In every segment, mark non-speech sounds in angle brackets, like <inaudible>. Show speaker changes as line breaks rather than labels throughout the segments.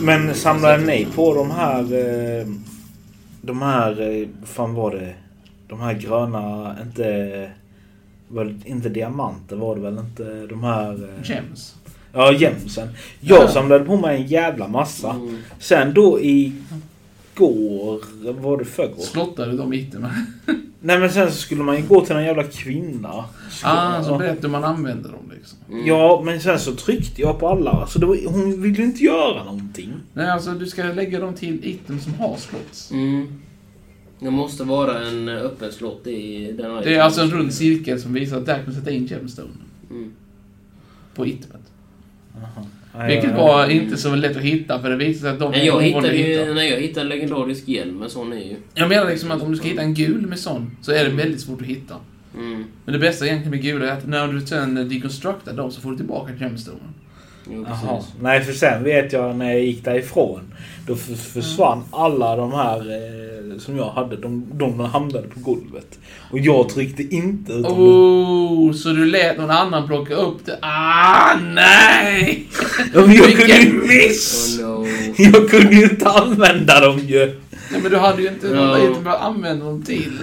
Men samlade ni på de här... eh, De här... eh, fan var det? De här gröna... Inte... Väl, inte diamanter var det väl inte? De här... eh,
Gems.
Ja, gemsen. Jag
Ja.
samlade på mig en jävla massa.
Mm.
Sen då i går Var det förrgår?
Slottade de
<laughs>
itemmen?
Nej men sen så skulle man ju gå till en jävla kvinna.
Ah, så
Ja.
berättar hur man använder dem liksom.
Ja, men sen så tryckte jag på alla. Så det var, hon ville ju inte göra någonting.
Nej, alltså du ska lägga dem till item som har slots.
Mm. Det måste vara en öppen slott i den här.
Det är alltså en rund cirkel som visar att där kan du sätta in gemstone.
Mm.
På itemet.
Nej,
Vilket
jag-
var inte så lätt att hitta för det visade sig att de
Nej, jag
ovanliga
hittade
att
ju,
hitta.
nej, jag hittade en legendarisk hjälm, en sån är ju...
Jag menar liksom att om du ska hitta en gul med sån så är det väldigt svårt att hitta.
Mm.
Men det bästa egentligen med gula är att när du sen deconstructar dem så får du tillbaka gemstonen.
Jo,
Jaha.
precis.
Nej, för sen vet jag när jag gick därifrån. Då f- försvann
Mm.
alla de här eh, som jag hade. De, de hamnade på golvet. Och jag tryckte inte utan de-
Oh, så du lät någon annan plocka upp det? Ah, nej!
Ja, men jag, kunde
Vilken
ju, miss!
Oh no.
jag kunde ju inte använda dem ju.
Nej, men du hade ju inte
Ja.
något item att använda dem till.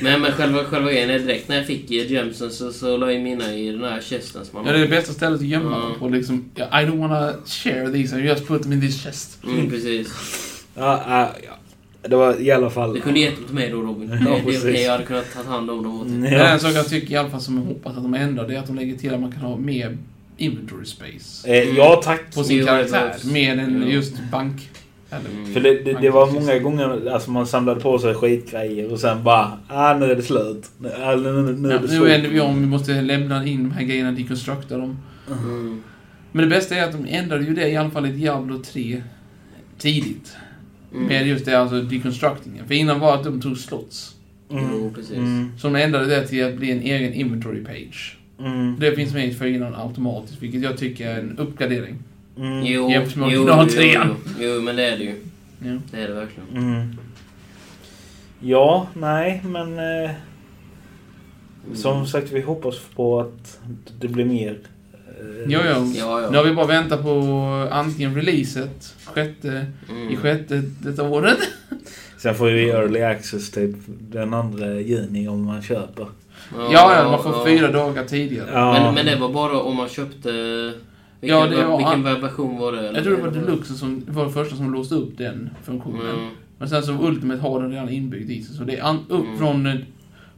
Men, men själva, själva grejen är direkt när jag fick eh, gemsen så, så la jag mina i den här chesten som man
Ja, det är det bästa stället att gömma
Ja.
dem på liksom. I don't wanna share these, I just put them in this chest.
Mm, precis.
Ja, ja, ja. Det var i alla fall...
Du kunde gett dem till mig då Robin. Det,
Ja,
det är okej,
precis.
jag hade kunnat ta hand om dem åt dig.
Ja.
Det är en sak jag tycker i alla fall som jag hoppas att de ändrar, det är att de lägger till att man kan ha mer inventory space.
Eh, ja, tack.
På sin
Jo,
karaktär,
det-
mer än
jo.
just bank. Eller,
För det, det, det var många gånger alltså man samlade på sig skitgrejer och sen bara ah, nu är det slut. Nu, ah, nu, nu, nu är
Ja,
det
nu
slut.
vänder vi om, vi måste lämna in de här grejerna, deconstructa dem.
Mm.
Men det bästa är att de ändrade ju det i alla fall i Diablo 3 tidigt.
Mm.
Med just det, alltså deconstructingen. För innan var att de tog slots.
Jo, precis.
Mm.
Så de ändrade det till att bli en egen inventory page.
Mm.
Det finns med i fyran automatiskt, vilket jag tycker är en uppgradering.
Mm.
Jo,
Jämfört med
jo, jo,
originaltrean.
jo, jo, men det är det ju.
Ja.
Det är det verkligen.
Mm. Ja, nej, men eh,
Mm.
som sagt vi hoppas på att det blir mer. Eh,
Jo, jo.
Ja, ja.
Nu har vi bara väntat på antingen releaset sjätte,
Mm.
i sjätte detta året.
Sen får vi early access typ den andra juni om man köper.
Ja, ja, man får fyra dagar tidigare.
Ja,
Men, men det var bara om man köpte... Vilken,
Ja, det var-
vilken version var det?
Jag tror det var Deluxe som var den första som låste upp den funktionen.
Mm.
Men sen så Ultimate har den redan inbyggd i sig. Så det är an, upp,
Mm.
från, eh,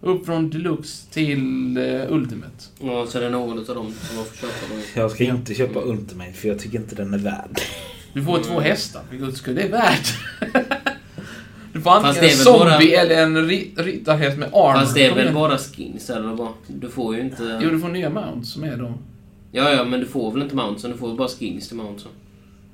upp från Deluxe till eh, Ultimate.
Ja, så är det någon utav dem som man får köpa då.
Jag ska
Ja.
inte köpa Ultimate för jag tycker inte den är värd.
Du får
Mm.
två hästar, för guds skull. Det är värt! <laughs> Du får
Fast det
antingen
är
en
väl
zombie
bara-
eller en ri- ryttarhäst med armor.
Fast det är
Kom
väl
igen.
bara skins eller vad? Du får ju inte...
Jo, du får nya mounts som är då...
Ja, ja, men du får väl inte mountsen? Du får väl bara skins till mountsen?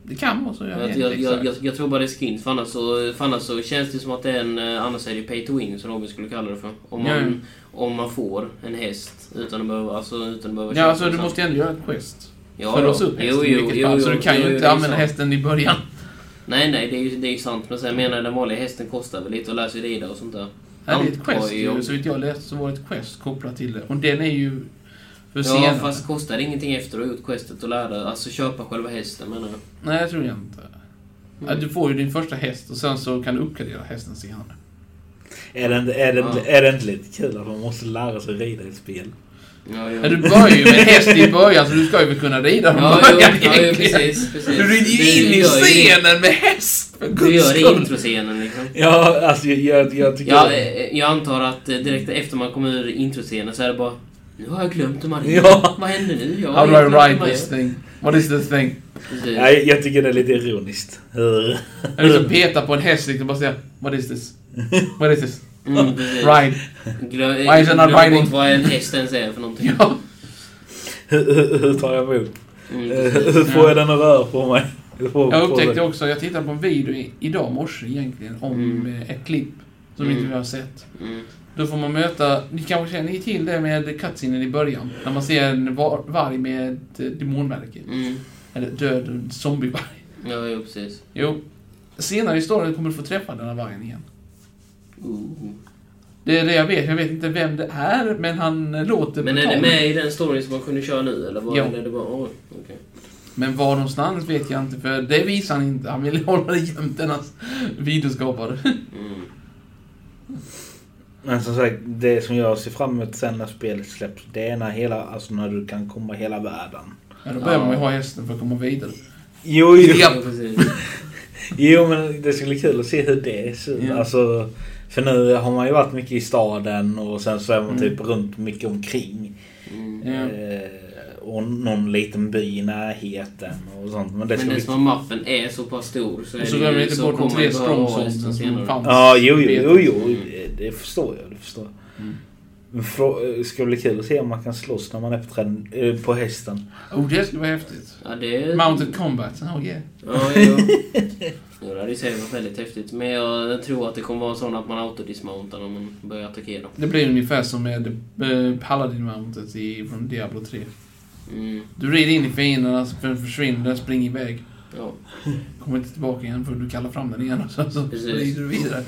Det kan vara så. Jag,
Jag,
vet
jag,
inte
jag,
exakt.
jag, jag tror bara det är skins, för annars så, för annars så känns det som att det är en... eh, Annars är det pay to win, som Robin skulle kalla det för. Om man,
Ja, ja.
om man får en häst utan att behöva... Alltså, utan att behöva
Ja,
köpa
alltså
den
du
sen.
måste ju ändå göra ett quest.
Ja,
för att
ja.
låsa upp hästen
Jo,
i
jo,
vilket
jo,
fall. så
jo,
du kan
jo,
ju
jo, liksom.
inte
det är
använda
sant.
hästen i början.
Nej, nej, det är ju, det är ju sant. Men sen menar jag den vanliga hästen kostar väl lite att lära sig rida och sånt där.
Ja, det är ett
Antar
quest
jag.
ju. Så vitt jag läste så var det ett quest kopplat till det. Och den är ju för
Ja,
senare.
fast kostar det ingenting efter att ha gjort questet och lära, alltså köpa själva hästen menar jag.
Nej, det tror jag inte.
Mm.
Ja, Du får ju din första häst och sen så kan du uppgradera hästen senare.
Är det, inte- är, det,
Ja.
är det inte lite kul att man måste lära sig rida i ett spel?
Mm. Ja, ja.
Ja, du börjar ju med häst i början så du ska ju väl kunna rida <laughs> från
ja, jo,
början
ja, jo,
egentligen.
precis, precis.
Du rider
Det-
ju in
du
i
gör ju det.
scenen med häst för
Du
guds
gör det i
skull.
introscenen liksom.
Ja, alltså jag, jag, jag tycker...
Ja, eh, jag antar att eh, direkt efter man kommer ur introscenen så är det bara Nu har jag glömt hur man rider.
Ja.
Vad händer nu? Jag
How
har
do I
helt glömt hur
ride
man
this
gör."
thing? What is this thing?
Precis.
Nej, jag tycker det är lite ironiskt. Hur?
Jag liksom petar på en häst liksom och bara säga What is this? What is this?
Mm, precis.
Ride.
Glöm,
Why is it not
glöm bort
riding?
vad en häst ens är för någonting.
<laughs> Ja.
<laughs> Hur- hur hur tar jag mig upp?
Mm,
Eh,
precis.
Hur får jag den att röra på mig? Hur får-
Jag
får
upptäckte
den-
också, jag tittade på en video i- idag morse egentligen om
Mm.
eh, ett klipp som
Mm.
inte vi har sett.
Mm.
Då får man möta, ni kanske känner till det med cutscenen i början. När man ser en var- varg med ett eh, demonmärke.
Mm.
Eller död zombievarg.
Ja, jo, precis.
Jo. Senare i storyn kommer du få träffa den här vargen igen. Uh.
Ooh.
Det är det jag vet. Jag vet inte vem det är, men han eh, låter
Men är
brutal.
det med i den storyn som man kunde köra nu, eller vad?
Ja.
Eller är det bara, oh, okej.
Men var någonstans vet jag inte, för det visar han inte. Han vill hålla det gömt, denna videoskapare. <laughs>
Mm.
Men som sagt, det som jag ser fram emot sen när spelet släpps, det är när, hela, alltså när du kan komma hela världen.
Ja, då behöver man ju
Ja.
ha hästen för att komma vidare.
Jo, jo.
Ja.
Ja, precis.
Jo men det skulle bli kul att se hur det ser ut.
Ja.
Alltså, för nu har man ju varit mycket i staden och sen så är man
Mm.
typ runt mycket omkring.
Mm.
Ja.
Eh, och någon liten by i närheten och sånt. Men det
Men
skulle bli...
eftersom att mappen är så pass stor så, är
Och så
det ju-
glömmer vi inte bort de
kommer
tre
det bara vara
strongzonen
resten
som
senare.
fanns.
Ja, jo, jo,
Vet
jo, jo.
Mm.
Det- Det förstår jag. Det förstår jag.
Mm.
Men frå- eh, ska bli kul att se om man kan slåss när man är på, träden, eh, på hästen.
Oh, det skulle vara häftigt.
Ja, det är...
Mounted Combat, oh yeah.
Ja,
<laughs>
jo. Jo, det hade ju säkert varit väldigt häftigt. Men jag tror att det kommer vara sån att man autodismountar när man börjar attackera.
Det blir ungefär som med eh, Paladin Mountet i, från Diablo 3.
Mm.
Du rider in i fienderna, för- försvinner, springer iväg.
Ja.
Kommer inte tillbaka igen för du kallar fram den igen <laughs> och så, så
Precis.
rider du vidare.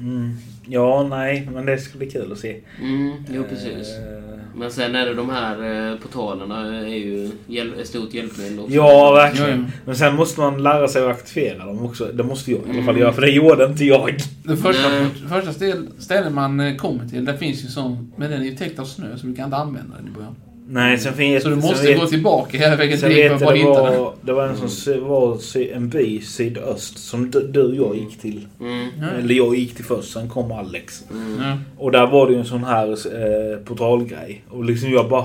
Mm. Ja, nej, men det skulle bli kul att se.
Mm, jo, precis.
Eh,
Men sen är det de här eh, portalerna är ju hjäl- ett stort hjälpmedel också.
Ja,
Ja,
verkligen.
ja.
Men sen måste man lära sig att aktivera dem också. Det måste jag i alla fall
Mm.
göra, för det gjorde inte jag.
Det första,
Nej.
första stel- stället man eh, kommer till, där finns ju sån, men den är ju täckt av snö så du kan inte använda den i början.
Nej, sen finns
Så du
sen
måste
vet-
gå tillbaka hela vägen
sen
till Mm. för
vet
att
jag,
bara
det,
hitta den.
var, det var en som sy- var sy- en by i sydöst som du, du och jag gick till.
Mm.
Ja.
Eller jag gick till först, sen kom Alex.
Mm.
Ja.
Och där var det ju en sån här eh, portalgrej. Och liksom jag bara...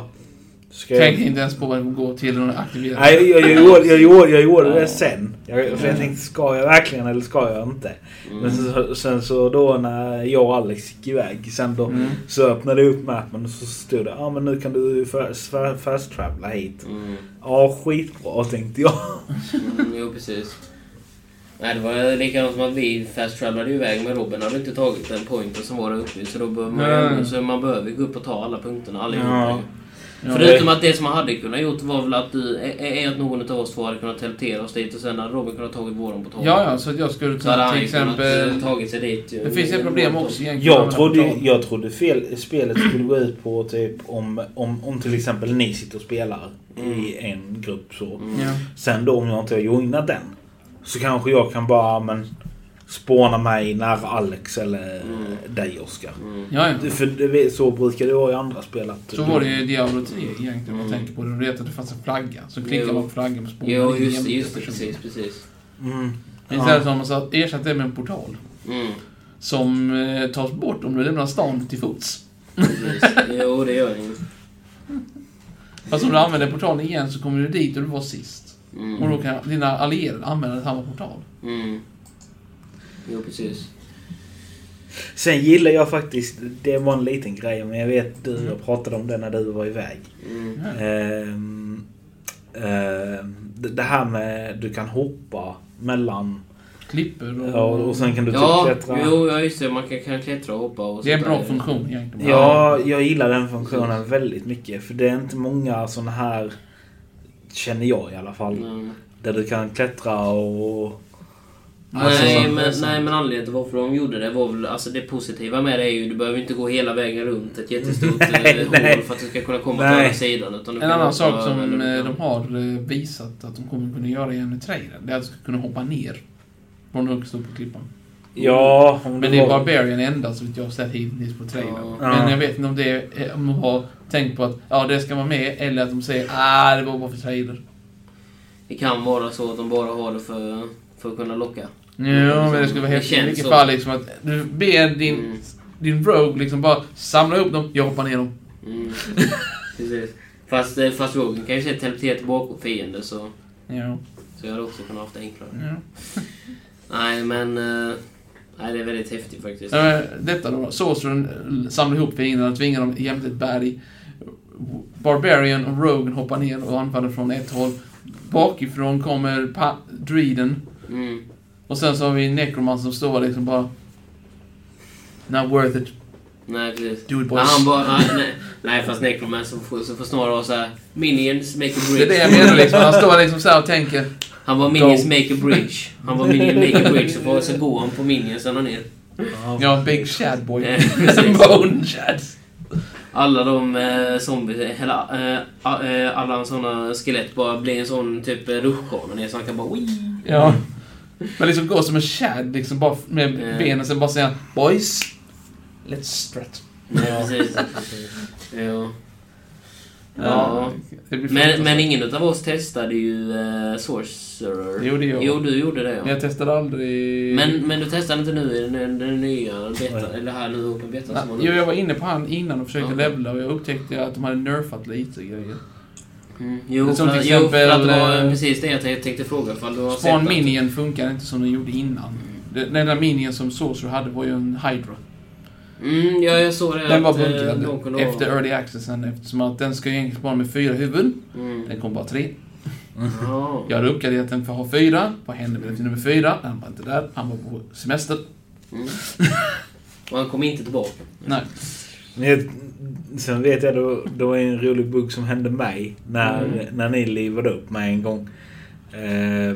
Ska jag...
Tänk inte ens på vad det går till när du aktiverar den.
Nej, jag, jag, gjorde, jag, gjorde, jag gjorde
Ja.
det sen. Jag, för jag tänkte, ska jag verkligen eller ska jag inte? Men
Mm.
sen, sen så då när jag och Alex gick iväg sen då
Mm.
så öppnade jag upp mappen och så stod det ja ah, men nu kan du fa- fa- fast-travla hit.
Mm.
Ja skitbra tänkte jag.
Mm, jo, precis. Nej, det var likadant som att vi fast-travlade iväg med Robin. hade inte tagit den pointen som var där uppe. Så då behöver man, ju-
Nej.
så man behöver gå upp och ta alla punkterna allihopa.
Ja.
ju.
Ja.
Förutom att det som man hade kunnat gjort var väl att, du, är, är att någon av oss två hade kunnat teleportera oss dit och sen hade Robin kunnat tagit våran portal.
Ja, ja, så att jag skulle
Så hade
kunna
han
till
ju kunnat
exempel...
eh, tagit sig dit. ju.
Det finns ett problem
Mm.
också egentligen.
Jag
med
trodde, ju-
portalen.
jag trodde fel, spelet skulle gå ut på typ om, om, om till exempel ni sitter och spelar i en grupp så.
Mm.
Ja.
Sen då om jag inte har joinat den så kanske jag kan bara men spåna mig nära Alex eller
Mm.
dig Oskar.
Mm.
Ja, ja.
För det vet- så brukar det vara i andra spel att
Så var det ju i Diablo 3 egentligen, om man
Mm.
tänker på det. Du vet att det fanns en flagga, så klickar
Jo.
man på flaggan på spåren.
Jo,
det är
just,
jämnt
just det.
med personen.
Precis, precis.
Mm.
Istället så har man satt- ersatt det med en portal. <laughs>
Mm.
Som eh, tas bort om du lämnar stan till fots.
precis. Jo, det gör jag ju.
Fast om du använder portalen igen så kommer du dit och du var sist. Och
Mm.
då kan dina allierade använda samma portal.
Mm. Jo, precis.
Sen gillar jag faktiskt, det var en liten grej men jag vet du jag pratade om det när du var iväg.
Mm.
Ehm, ehm, det det här med du kan hoppa mellan
Klipper och...
ja, och sen kan du typ
Ja,
klättra.
jo, ja, just det. Man kan, kan klättra och hoppa och
Det är en
sånt
bra
där.
funktion egentligen.
Ja, jag gillar den funktionen väldigt mycket för det är inte många sådana här, känner jag i alla fall,
Mm.
där du kan klättra och... Alltså,
Nej
så-
men, nej men anledningen till varför de gjorde det var väl, alltså det positiva med det är ju du behöver inte gå hela vägen runt
<laughs>
ett jättestort
Nej,
eh, hål
nej.
för att du ska kunna komma
Nej.
till andra sidan. Utan
En
du kan
annan
hoppa
sak som
över
eh,
eller du
de
kan-
har eh, visat att de kommer kunna göra igen i trailern, det är att du ska kunna hoppa ner. Från högst upp på klippan.
Ja, om
Men
du
det är
var-
Barbarian enda så vet jag har sett hittills på trailern.
Ja.
Men jag vet inte om, det är, om de har tänkt på att ja, det ska vara med eller att de säger ah, det var bara för trailer.
Det kan vara så att de bara har det för, för att kunna locka.
Ja, men Mm. det skulle vara
Det
häftigt i
känns
vilket
så.
fall liksom att du ber din,
Mm.
din Rogue liksom bara samla upp dem, jag hoppar ner dem. <laughs>
Mm. Precis. Fast, eh, fast Rogen kan ju se teleportera tillbaka fiender så,
Ja,
så jag hade också kunnat haft det enklare.
ja.
Nej men... eh, nej det är väldigt häftigt faktiskt.
Ja, men Detta då. Sorcerern samlar ihop fienderna, tvingar dem jämte ett berg. Barbarian och Rogan hoppar ner och anfaller från ett håll. Bakifrån kommer pa- Dreeden.
Mm.
Och sen så har vi Necroman som står liksom bara... Not worth it.
Nej precis.
Do it
Ja,
boys.
han bara, nej, nej, nej fast Necromancer får, så får snarare vara såhär Minions make a
Det
bridge.
är det jag menar liksom. Han står liksom
<laughs>
så här och tänker...
Han var Minions
Go.
make a bridge. Han var Minions make a bridge. Så, får, så går han på Minions sen och ner.
<laughs> Ja, big shad boy.
Ja, precis.
Bone shad.
Ja alla de eh, zombies, hela, eh, a- eh, alla såna skelett bara blir en sån typ eh, rutschkana så han kan bara Wii!
Ja. Men liksom gå som en Chad liksom bara med
Mm.
benen sen bara säga Boys, let's strut.
Ja, precis. ja. Ja.
Ja, det blir
Men,
fruktansvärt.
men ingen av oss testade ju eh, Sorcerer.
Jo, det gjorde jag.
Jo, du gjorde det ja.
Jag testade aldrig...
Men, men du testade inte nu i den, den, den nya beta,
Nej.
eller här nu Open Beta
Nej,
som var
Jo,
nu?
jag var inne på han innan och försökte
Ja.
levla och jag upptäckte att de hade nerfat lite grejer.
Mm. Jo,
Men som
för,
till
jo, för att det
exempel,
var
eh,
precis det jag tänkte, tänkte fråga. Ifall du har
Spawn
sett att-
Minion funkar inte som den gjorde innan. Den den där minien som Sorcerer hade var ju en Hydra.
Mm, ja, jag såg det.
Den var
att, eh, någon
buggad
kunde ha-
efter Early Accessen eftersom att den ska ju egentligen spara med fyra huvuden.
Mm.
Den kom bara tre. Mm.
Ja.
Jag hade uppgraderat den för att ha fyra. Vad hände med den till nummer fyra? Han var inte där. Han var på semester.
Mm. Och han kom inte tillbaka.
Nej.
Men jag, sen vet jag, då, då är en rolig bugg som hände mig när,
Mm.
när ni livade upp mig en gång. Eh,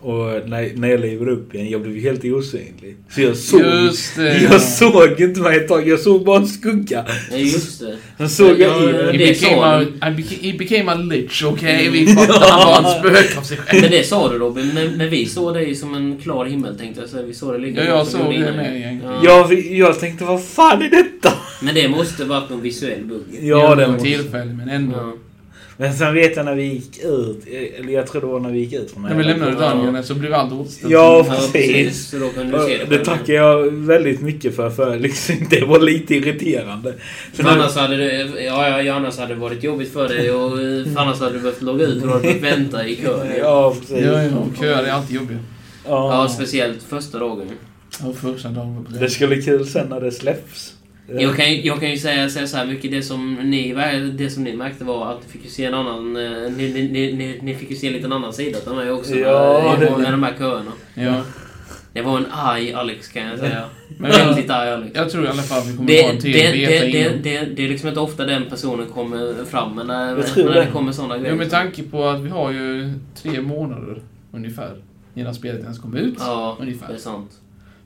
och när, när jag livade upp igen, jag blev ju helt osynlig. Så jag såg,
Just det.
<laughs> jag såg inte mig ett tag, jag såg bara en skugga.
Nej, just det.
Sen såg jag
Ja,
i den.
He
det
became,
sa Mm.
a,
du.
I beca- he became a lich, okej? Vi fattar han var ett spöke av sig
<laughs>
själv.
Men det sa du Robin, men, men vi såg dig som en klar himmel tänkte jag säga. Vi såg det lika
Ja,
bra
jag
som
såg
du
det
innan.
med egentligen.
Ja.
Jag, jag tänkte, vad fan är detta?
Men det måste varit någon visuell bugg.
Ja,
det
det
var
måste-
tillfälle, men ändå.
Ja.
Men sen vet jag när vi gick ut, eller jag tror det var när vi gick ut från
När vi lämnade
Ja.
Dungeon så blev allt återställt.
Ja,
Ja,
precis.
precis. Så då kan du se det.
Det, det tackar jag väldigt mycket för, för liksom, <laughs> det var lite irriterande. För
För
när-
annars hade det, ja, ja, ja, annars hade det varit jobbigt för dig och eh, för annars hade du behövt logga ut och du hade fått vänta i kön.
Ja, precis.
Ja, ja, och köer är alltid jobbiga.
Ja.
Ja, speciellt första dagen.
Ja, första dagen var
Det
precis.
ska bli kul sen när det släpps.
Jag kan, ju- jag kan ju säga, säga så här mycket, det som, ni, det som ni märkte var att ni fick ju se en annan... eh, Ni, ni, ni, ni, ni fick ju se en liten annan sida av mig också
Ja,
med,
det-
med de här köerna.
Ja.
Det var en arg Alex kan jag säga.
Men
Väldigt
jag,
arg Alex.
jag tror i alla fall vi kommer
Det,
ha en
det,
till
det,
beta
det,
innan.
det, det är liksom inte ofta den personen kommer fram men när,
Jag tror
när
det.
det kommer sådana grejer.
Jo, med tanke på att vi har ju tre månader ungefär innan spelet ens kom ut.
Ja, det är
Ungefär.
sant.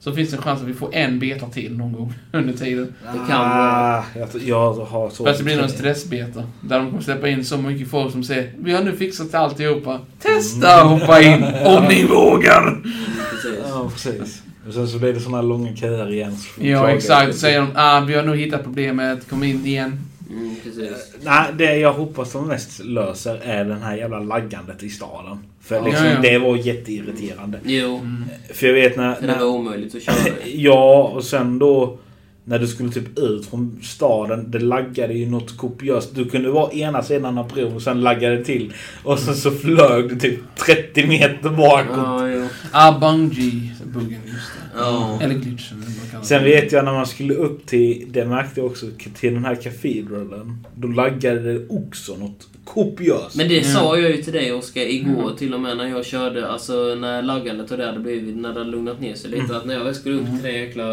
Så finns det en chans att vi får en beta till någon gång <laughs> under tiden.
det kan
ah, jag, jag har så...
Fast det blir någon stressbeta. Där de kommer släppa in så mycket folk som säger Vi har nu fixat alltihopa. Testa
Mm.
att hoppa in om
<laughs>
ni vågar!
Mm, Precis.
Ja, precis. Och sen så blir det såna här långa köer igen. så får vi
Ja,
klaga.
exakt. Säger de ah, vi har nog hittat problemet, kom in igen.
Mm, precis.
Eh, Nej, det jag hoppas de mest löser är den här jävla laggandet i staden. För
Ja.
liksom,
Ja, ja.
det var jätteirriterande.
Eh,
Jo,
mm.
För jag vet när...
för det var
när
omöjligt
<laughs>
att köra.
<laughs> ja, och sen då... När du skulle typ ut från staden, det laggade ju något kopiöst. Du kunde vara ena sidan av bron och sen laggade det till. Och sen så flög du typ 30 meter bakåt.
Ja, jo.
Ah, Bungie, buggen, just det.
Ja.
Eller glitchen, eller vad man kallar
Sen
det.
vet jag när man skulle upp till, det märkte jag också, till den här katedralen. Då laggade det också något kopiöst.
Men det
Mm.
sa jag ju till dig Oskar igår till och med när jag körde, alltså när laggandet och det hade blivit, när det hade lugnat ner sig
Mm.
lite. Att när jag väl skulle upp till den jäkla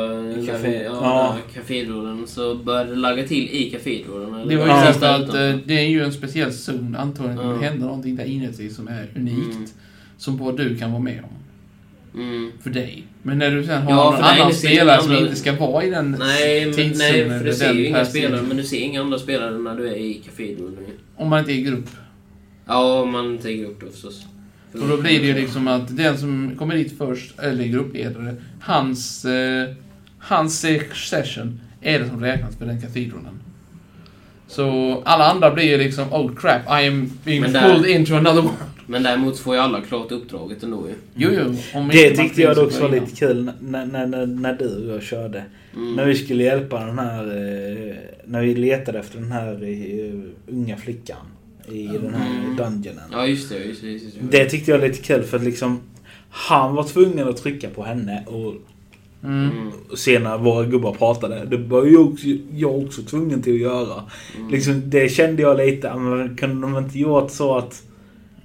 Café.
där-
Ja.
ja, där kathedralen så började det lagga till i kathedralen. eller
Det var ju
Ja.
just att
utanför.
eh, det är ju en speciell zon, antagligen kommer
Ja.
det hända någonting där inuti som är unikt.
Mm.
Som bara du kan vara med om.
Mm.
För dig. Men när du sen har
Ja,
någon
för nej,
annan
det ser ju
spelare som
andra-
inte ska vara i den
Nej, men,
tidszonen.
nej, för du
eller
ser ju
den
inga
här
spelare,
zonen.
men du ser inga andra spelare när du är i kathedralen.
Om man inte är i grupp.
Ja, om man tänker upp det förstås.
Och då blir det
Mm.
ju liksom att den som kommer dit först, eller gruppledare, hans, eh, hans eh, session är det som räknas för den katedralen. Så alla andra blir ju liksom oh crap, I am being
Men där-
pulled into another world.
Men däremot får ju alla klart uppdraget ändå ju.
Jo, jo,
Det
om inte man
tyckte jag
finns
också
på
var
innan.
lite kul när, när, när, när du och jag körde.
Mm.
När vi skulle hjälpa den här... eh, När vi letade efter den här eh, unga flickan i den här
Mm.
dungeonen.
Ja, just det. Just det, just det.
Det tyckte jag var lite kul för att liksom... Han var tvungen att trycka på henne och
Mm.
Mm.
se när våra gubbar pratade. Det var ju också, jag också tvungen till att göra.
Mm.
Liksom, det kände jag lite, ja, men kunde de inte gjort så att...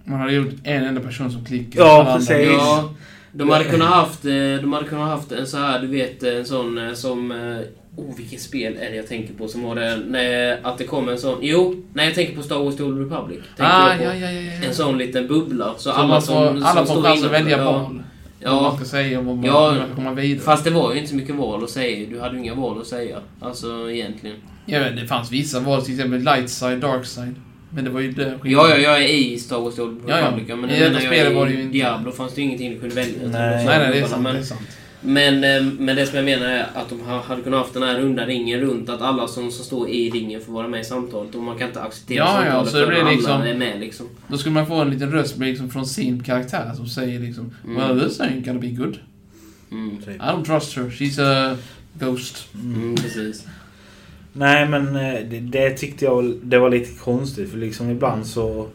Man hade gjort en enda person som klickar.
Ja,
alla andra-
precis.
Ja, de hade kunnat haft, eh, de hade kunnat haft en så här, du vet, en sån eh, som... eh, Oh, vilket spel är det jag tänker på som har det? Nej, att det kom en sån... Jo, nej, jag tänker på Star Wars The Old Republic. Tänker
Ah,
jag på.
ja, ja, ja, ja.
En sån liten bubbla. Så,
Så
alla
man
som,
får, alla
som
får
står
chans att
innanför,
välja
ja.
val. Vad man
Ja,
ska säga och vad man
Ja.
hur man ska komma vidare.
fast det var ju inte så mycket val att säga. Du hade ju inga val att säga. Alltså, egentligen.
Jag vet, det fanns vissa val, till exempel light side, dark side. Men det var ju det
Ja, ja, jag är i Star Wars The Old
Ja, ja.
Republic, men
I
jag
detta
menar,
spelet
jag är
var det
i
ju inte-
Diablo fanns det ju ingenting du kunde välja. utan
Nej.
det var så
Nej, nej, det är
gubbarna,
sant.
men-
Det är sant.
Men, eh, men det som jag menar är att de ha- hade kunnat haft den här runda ringen runt att alla som, som står i ringen får vara med i samtalet och man kan inte acceptera
Ja, ja,
samtalet
så det blir
förrän alla
liksom-
är med liksom.
Då skulle man få en liten röst med, liksom, från sin karaktär som säger liksom
Mm.
Well, this ain't gonna be good.
Mm.
I don't trust her. She's a ghost.
Mm, precis.
Nej men eh, det, det tyckte jag det var lite konstigt för liksom ibland så...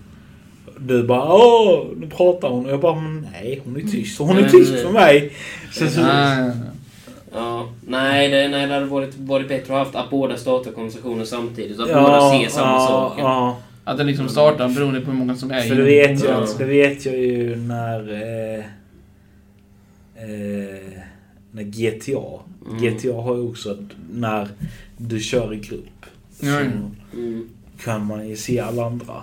Du bara åh, nu pratar hon och jag bara men nej hon är tyst. Hon är
Nej,
tyst
nej.
för mig. Så, så,
Mm. Ah, ja, ja.
Ja, nej, det, nej, det hade varit, varit bättre att haft att båda startar konversationer samtidigt. Så att båda
ja,
ser samma saker.
ja.
Att den liksom startar beroende på hur många som är
För det
i
vet,
den.
jag,
Ja.
det vet jag ju när... Eh, eh, när GTA.
Mm.
GTA har ju också att när du kör i grupp.
Ja, ja.
Så
Mm.
kan man ju se alla andra.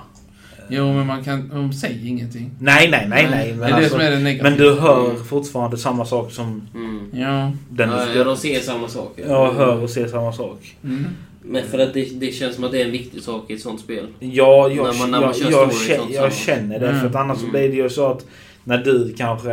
Jo, men man kan... De säger ingenting.
Nej, nej, nej,
Nej,
nej.
Det
Men,
är det
alltså,
som är det negativa.
men du hör
Mm.
fortfarande samma sak som
Mm.
Ja.
den du
ja, ja,
spelar.
de ser samma saker.
Ja, hör och ser samma sak.
Mm.
Men för att det, det känns som att det är en viktig sak i ett sånt spel.
Ja, jag,
När man- när man
jag,
kör
jag,
story
kä-
sånt
jag
samma.
känner det.
Mm.
För att annars så
Mm.
blir det ju så att när du kanske...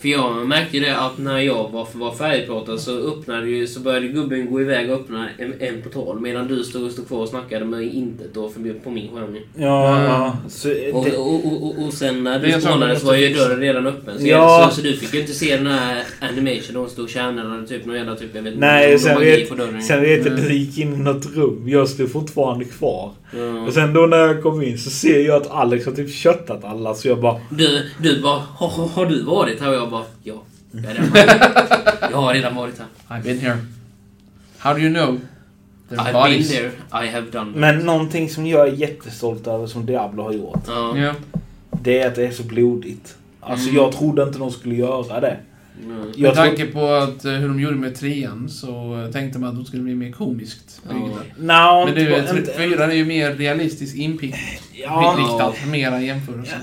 För jag märkte ju det att när jag var, var färdigpratad så öppnade ju, så började gubben gå iväg och öppna en, en portal medan du stod, stod kvar och snackade med intet då för, på min skärm. ju.
Ja,
Mm.
ja. Så, det,
Och, och, och, och, och sen när
Det är
du
så man
spånade så
måste
var ju
fixa.
dörren redan öppen. Så,
Ja.
så, så du fick ju inte se den här animationen. Hon stod och tjänade typ någon jävla typ, jag vet inte,
Nej,
någon
sen
magi
vet-
på dörren.
Sen vet jag att
Mm.
du gick in i något rum. Jag stod fortfarande kvar.
Ja.
Och sen då när jag kom in så ser jag att Alex har typ köttat alla så jag bara...
Du, du bara, <laughs> har, har, har du varit här? Och jag bara, ja. Jag, är redan varit. jag har redan varit här.
I've been here. How do you know? Their
I've
bodies.
been there, I have done.
Men någonting som jag är jättestolt över som Diablo har gjort.
Ja.
Ja.
Det är att det är så blodigt. Alltså jag trodde inte de skulle göra det.
Mm.
Jag tror-
Med tanke på att, eh, hur de gjorde med trean så eh, tänkte man att de skulle bli mer komiskt
Ja.
byggda.
Nej,
Men du,
inte,
eh,
inte,
fyran är ju mer realistisk
ja,
inriktad. Mera jämförelse.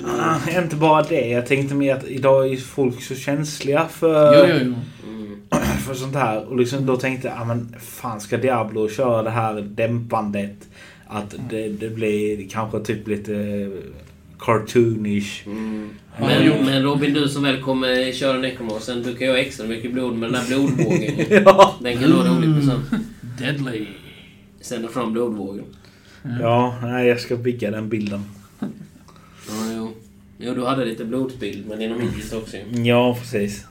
ja, inte bara det. Jag tänkte mer att idag är folk så känsliga för,
Jo, jo, jo.
Mm.
för sånt här. Och liksom då tänkte jag, ah, men fan ska Diablo köra det här dämpandet? Att det, det blir kanske typ lite eh, cartoonish. <laughs>
Mm.
Vad har du gjort?
Men, men Robin, du som väl kommer köra nekromansen, du kan ju ha extra mycket blod med den här blodvågen. ju.
Ja.
Den kan vara rolig på sen.
Deadly.
Sända fram blodvågen.
Mm.
Ja, nej, jag ska bygga den bilden.
Ja, jo. Jo, du hade lite blodspill, men inom hittills också ju.
Ja, precis.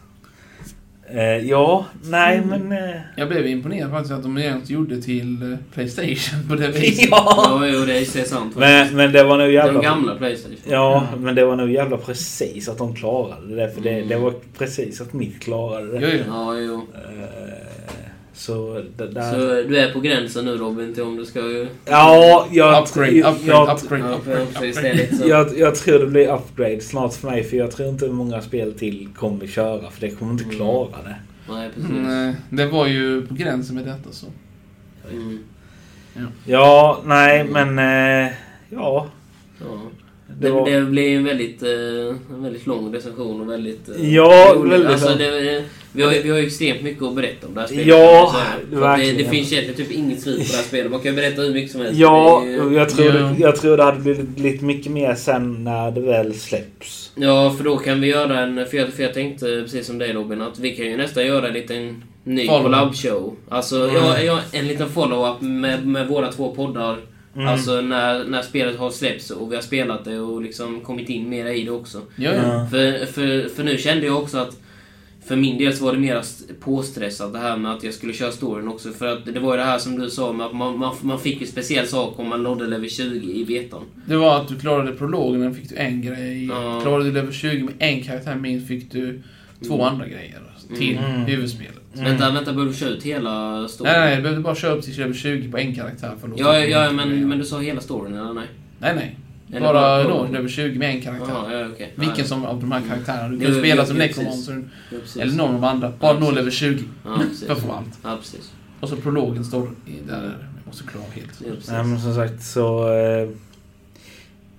Eh, ja, nej
Mm.
men...
<laughs>
Eh,
Jag blev imponerad faktiskt att de ens gjorde till eh, Playstation på det viset.
ja.
Ja, jo, det är det är sant. faktiskt.
Men, men det var nog
De
jävla...
gamla Playstation.
Ja,
Mm.
men det var nog jävla precis att de klarade det. För det,
Mm.
det var precis att mitt klarade
Jo,
det.
jo.
Ja, jo.
Eh, så det där...
Så du är på gränsen nu Robin till om du ska ju...
Ja, jag,
Upgrade,
jag,
upgrade,
jag,
upgrade,
Ja,
upgrade,
precis, det
upgrade.
är lite så.
jag, jag tror det blir upgrade snart för mig. För jag tror inte många spel till kommer köra. För det kommer inte
Mm.
klara det.
Nej, precis.
Mm, eh, det var ju på gränsen med detta så.
Mm.
Ja, nej men... Eh, ja.
Ja.
Det
Mm. Det,
var...
det blir en väldigt, eh, en väldigt lång recension och väldigt... eh,
Ja,
rolig.
väldigt
Alltså,
lång.
det, eh, vi, har, ju- vi har ju extremt mycket att berätta om det här spelet.
Ja,
Så här. För att det,
verkligen.
det finns egentligen typ inget slut på det här spelet. Man kan ju berätta hur mycket som helst.
Ja,
Det är ju-
jag tror,
Ja.
Det, jag tror det hade blivit lite mycket mer sen när det väl släpps.
ja, för då kan vi göra en... För jag, för jag tänkte precis som dig Robin att vi kan ju nästan göra en liten ny
Follow-up.
collab-show. Alltså, ja, ja, en liten follow-up med, med våra två poddar.
Mm.
Alltså när, när spelet har släppts och vi har spelat det och liksom kommit in mer i det också.
Jo, jo.
Ja.
För, för, för nu kände jag också att för min del så var det mer st- påstressat det här med att jag skulle köra storyn också. För att det var ju det här som du sa med att man, man, man fick ju speciell sak om man nådde level 20 i betan.
Det var att du klarade prologen, den fick du en grej.
Ja.
Klarade du level 20 med en karaktär minst fick du två
Mm.
andra grejer till
Mm.
huvudspelet.
Vänta, vänta, behöver du köra ut hela storyn?
Nej, nej, du behövde bara köra upp till level 20 på en karaktär för att
Ja,
låta-
ja men, men du sa hela storyn eller nej?
Nej, nej.
Eller
Bara
bara
nå
prologen.
level 20 med en karaktär.
Jaha, ja, okej.
Vilken som av de här karaktärerna. Du kan
Jo, jo,
spela
jo,
som
jo,
Necromancer
Ja, precis.
eller någon av de andra. Bara nå
Ja, precis.
level 20.
Ja, precis.
För att få allt.
Ja, precis.
Och så prologen står i där. Jag måste klara helt.
Ja, precis.
Nej, men som sagt så... Eh,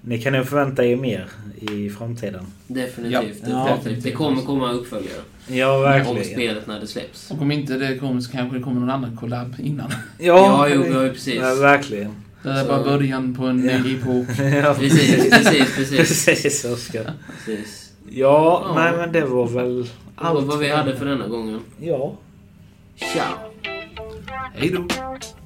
Ni kan nog förvänta er mer i framtiden.
Definitivt.
Ja,
definitivt. Det
definitivt.
kommer komma uppföljare.
Ja,
Om
verkligen.
spelet när det släpps.
Och om inte det kommer så kanske det kommer någon annan collab innan.
Ja, jo, ja, precis.
Ja, verkligen. <laughs>
Det är
Så-
bara början på en
Ja.
ny epok.
Ja,
Precis, precis, precis.
<laughs> precis, Oskar.
precis.
Ja,
Ja.
nej men det var väl
Det var
allt.
vad vi hade för denna gången.
Ja.
Ciao!
Hej då!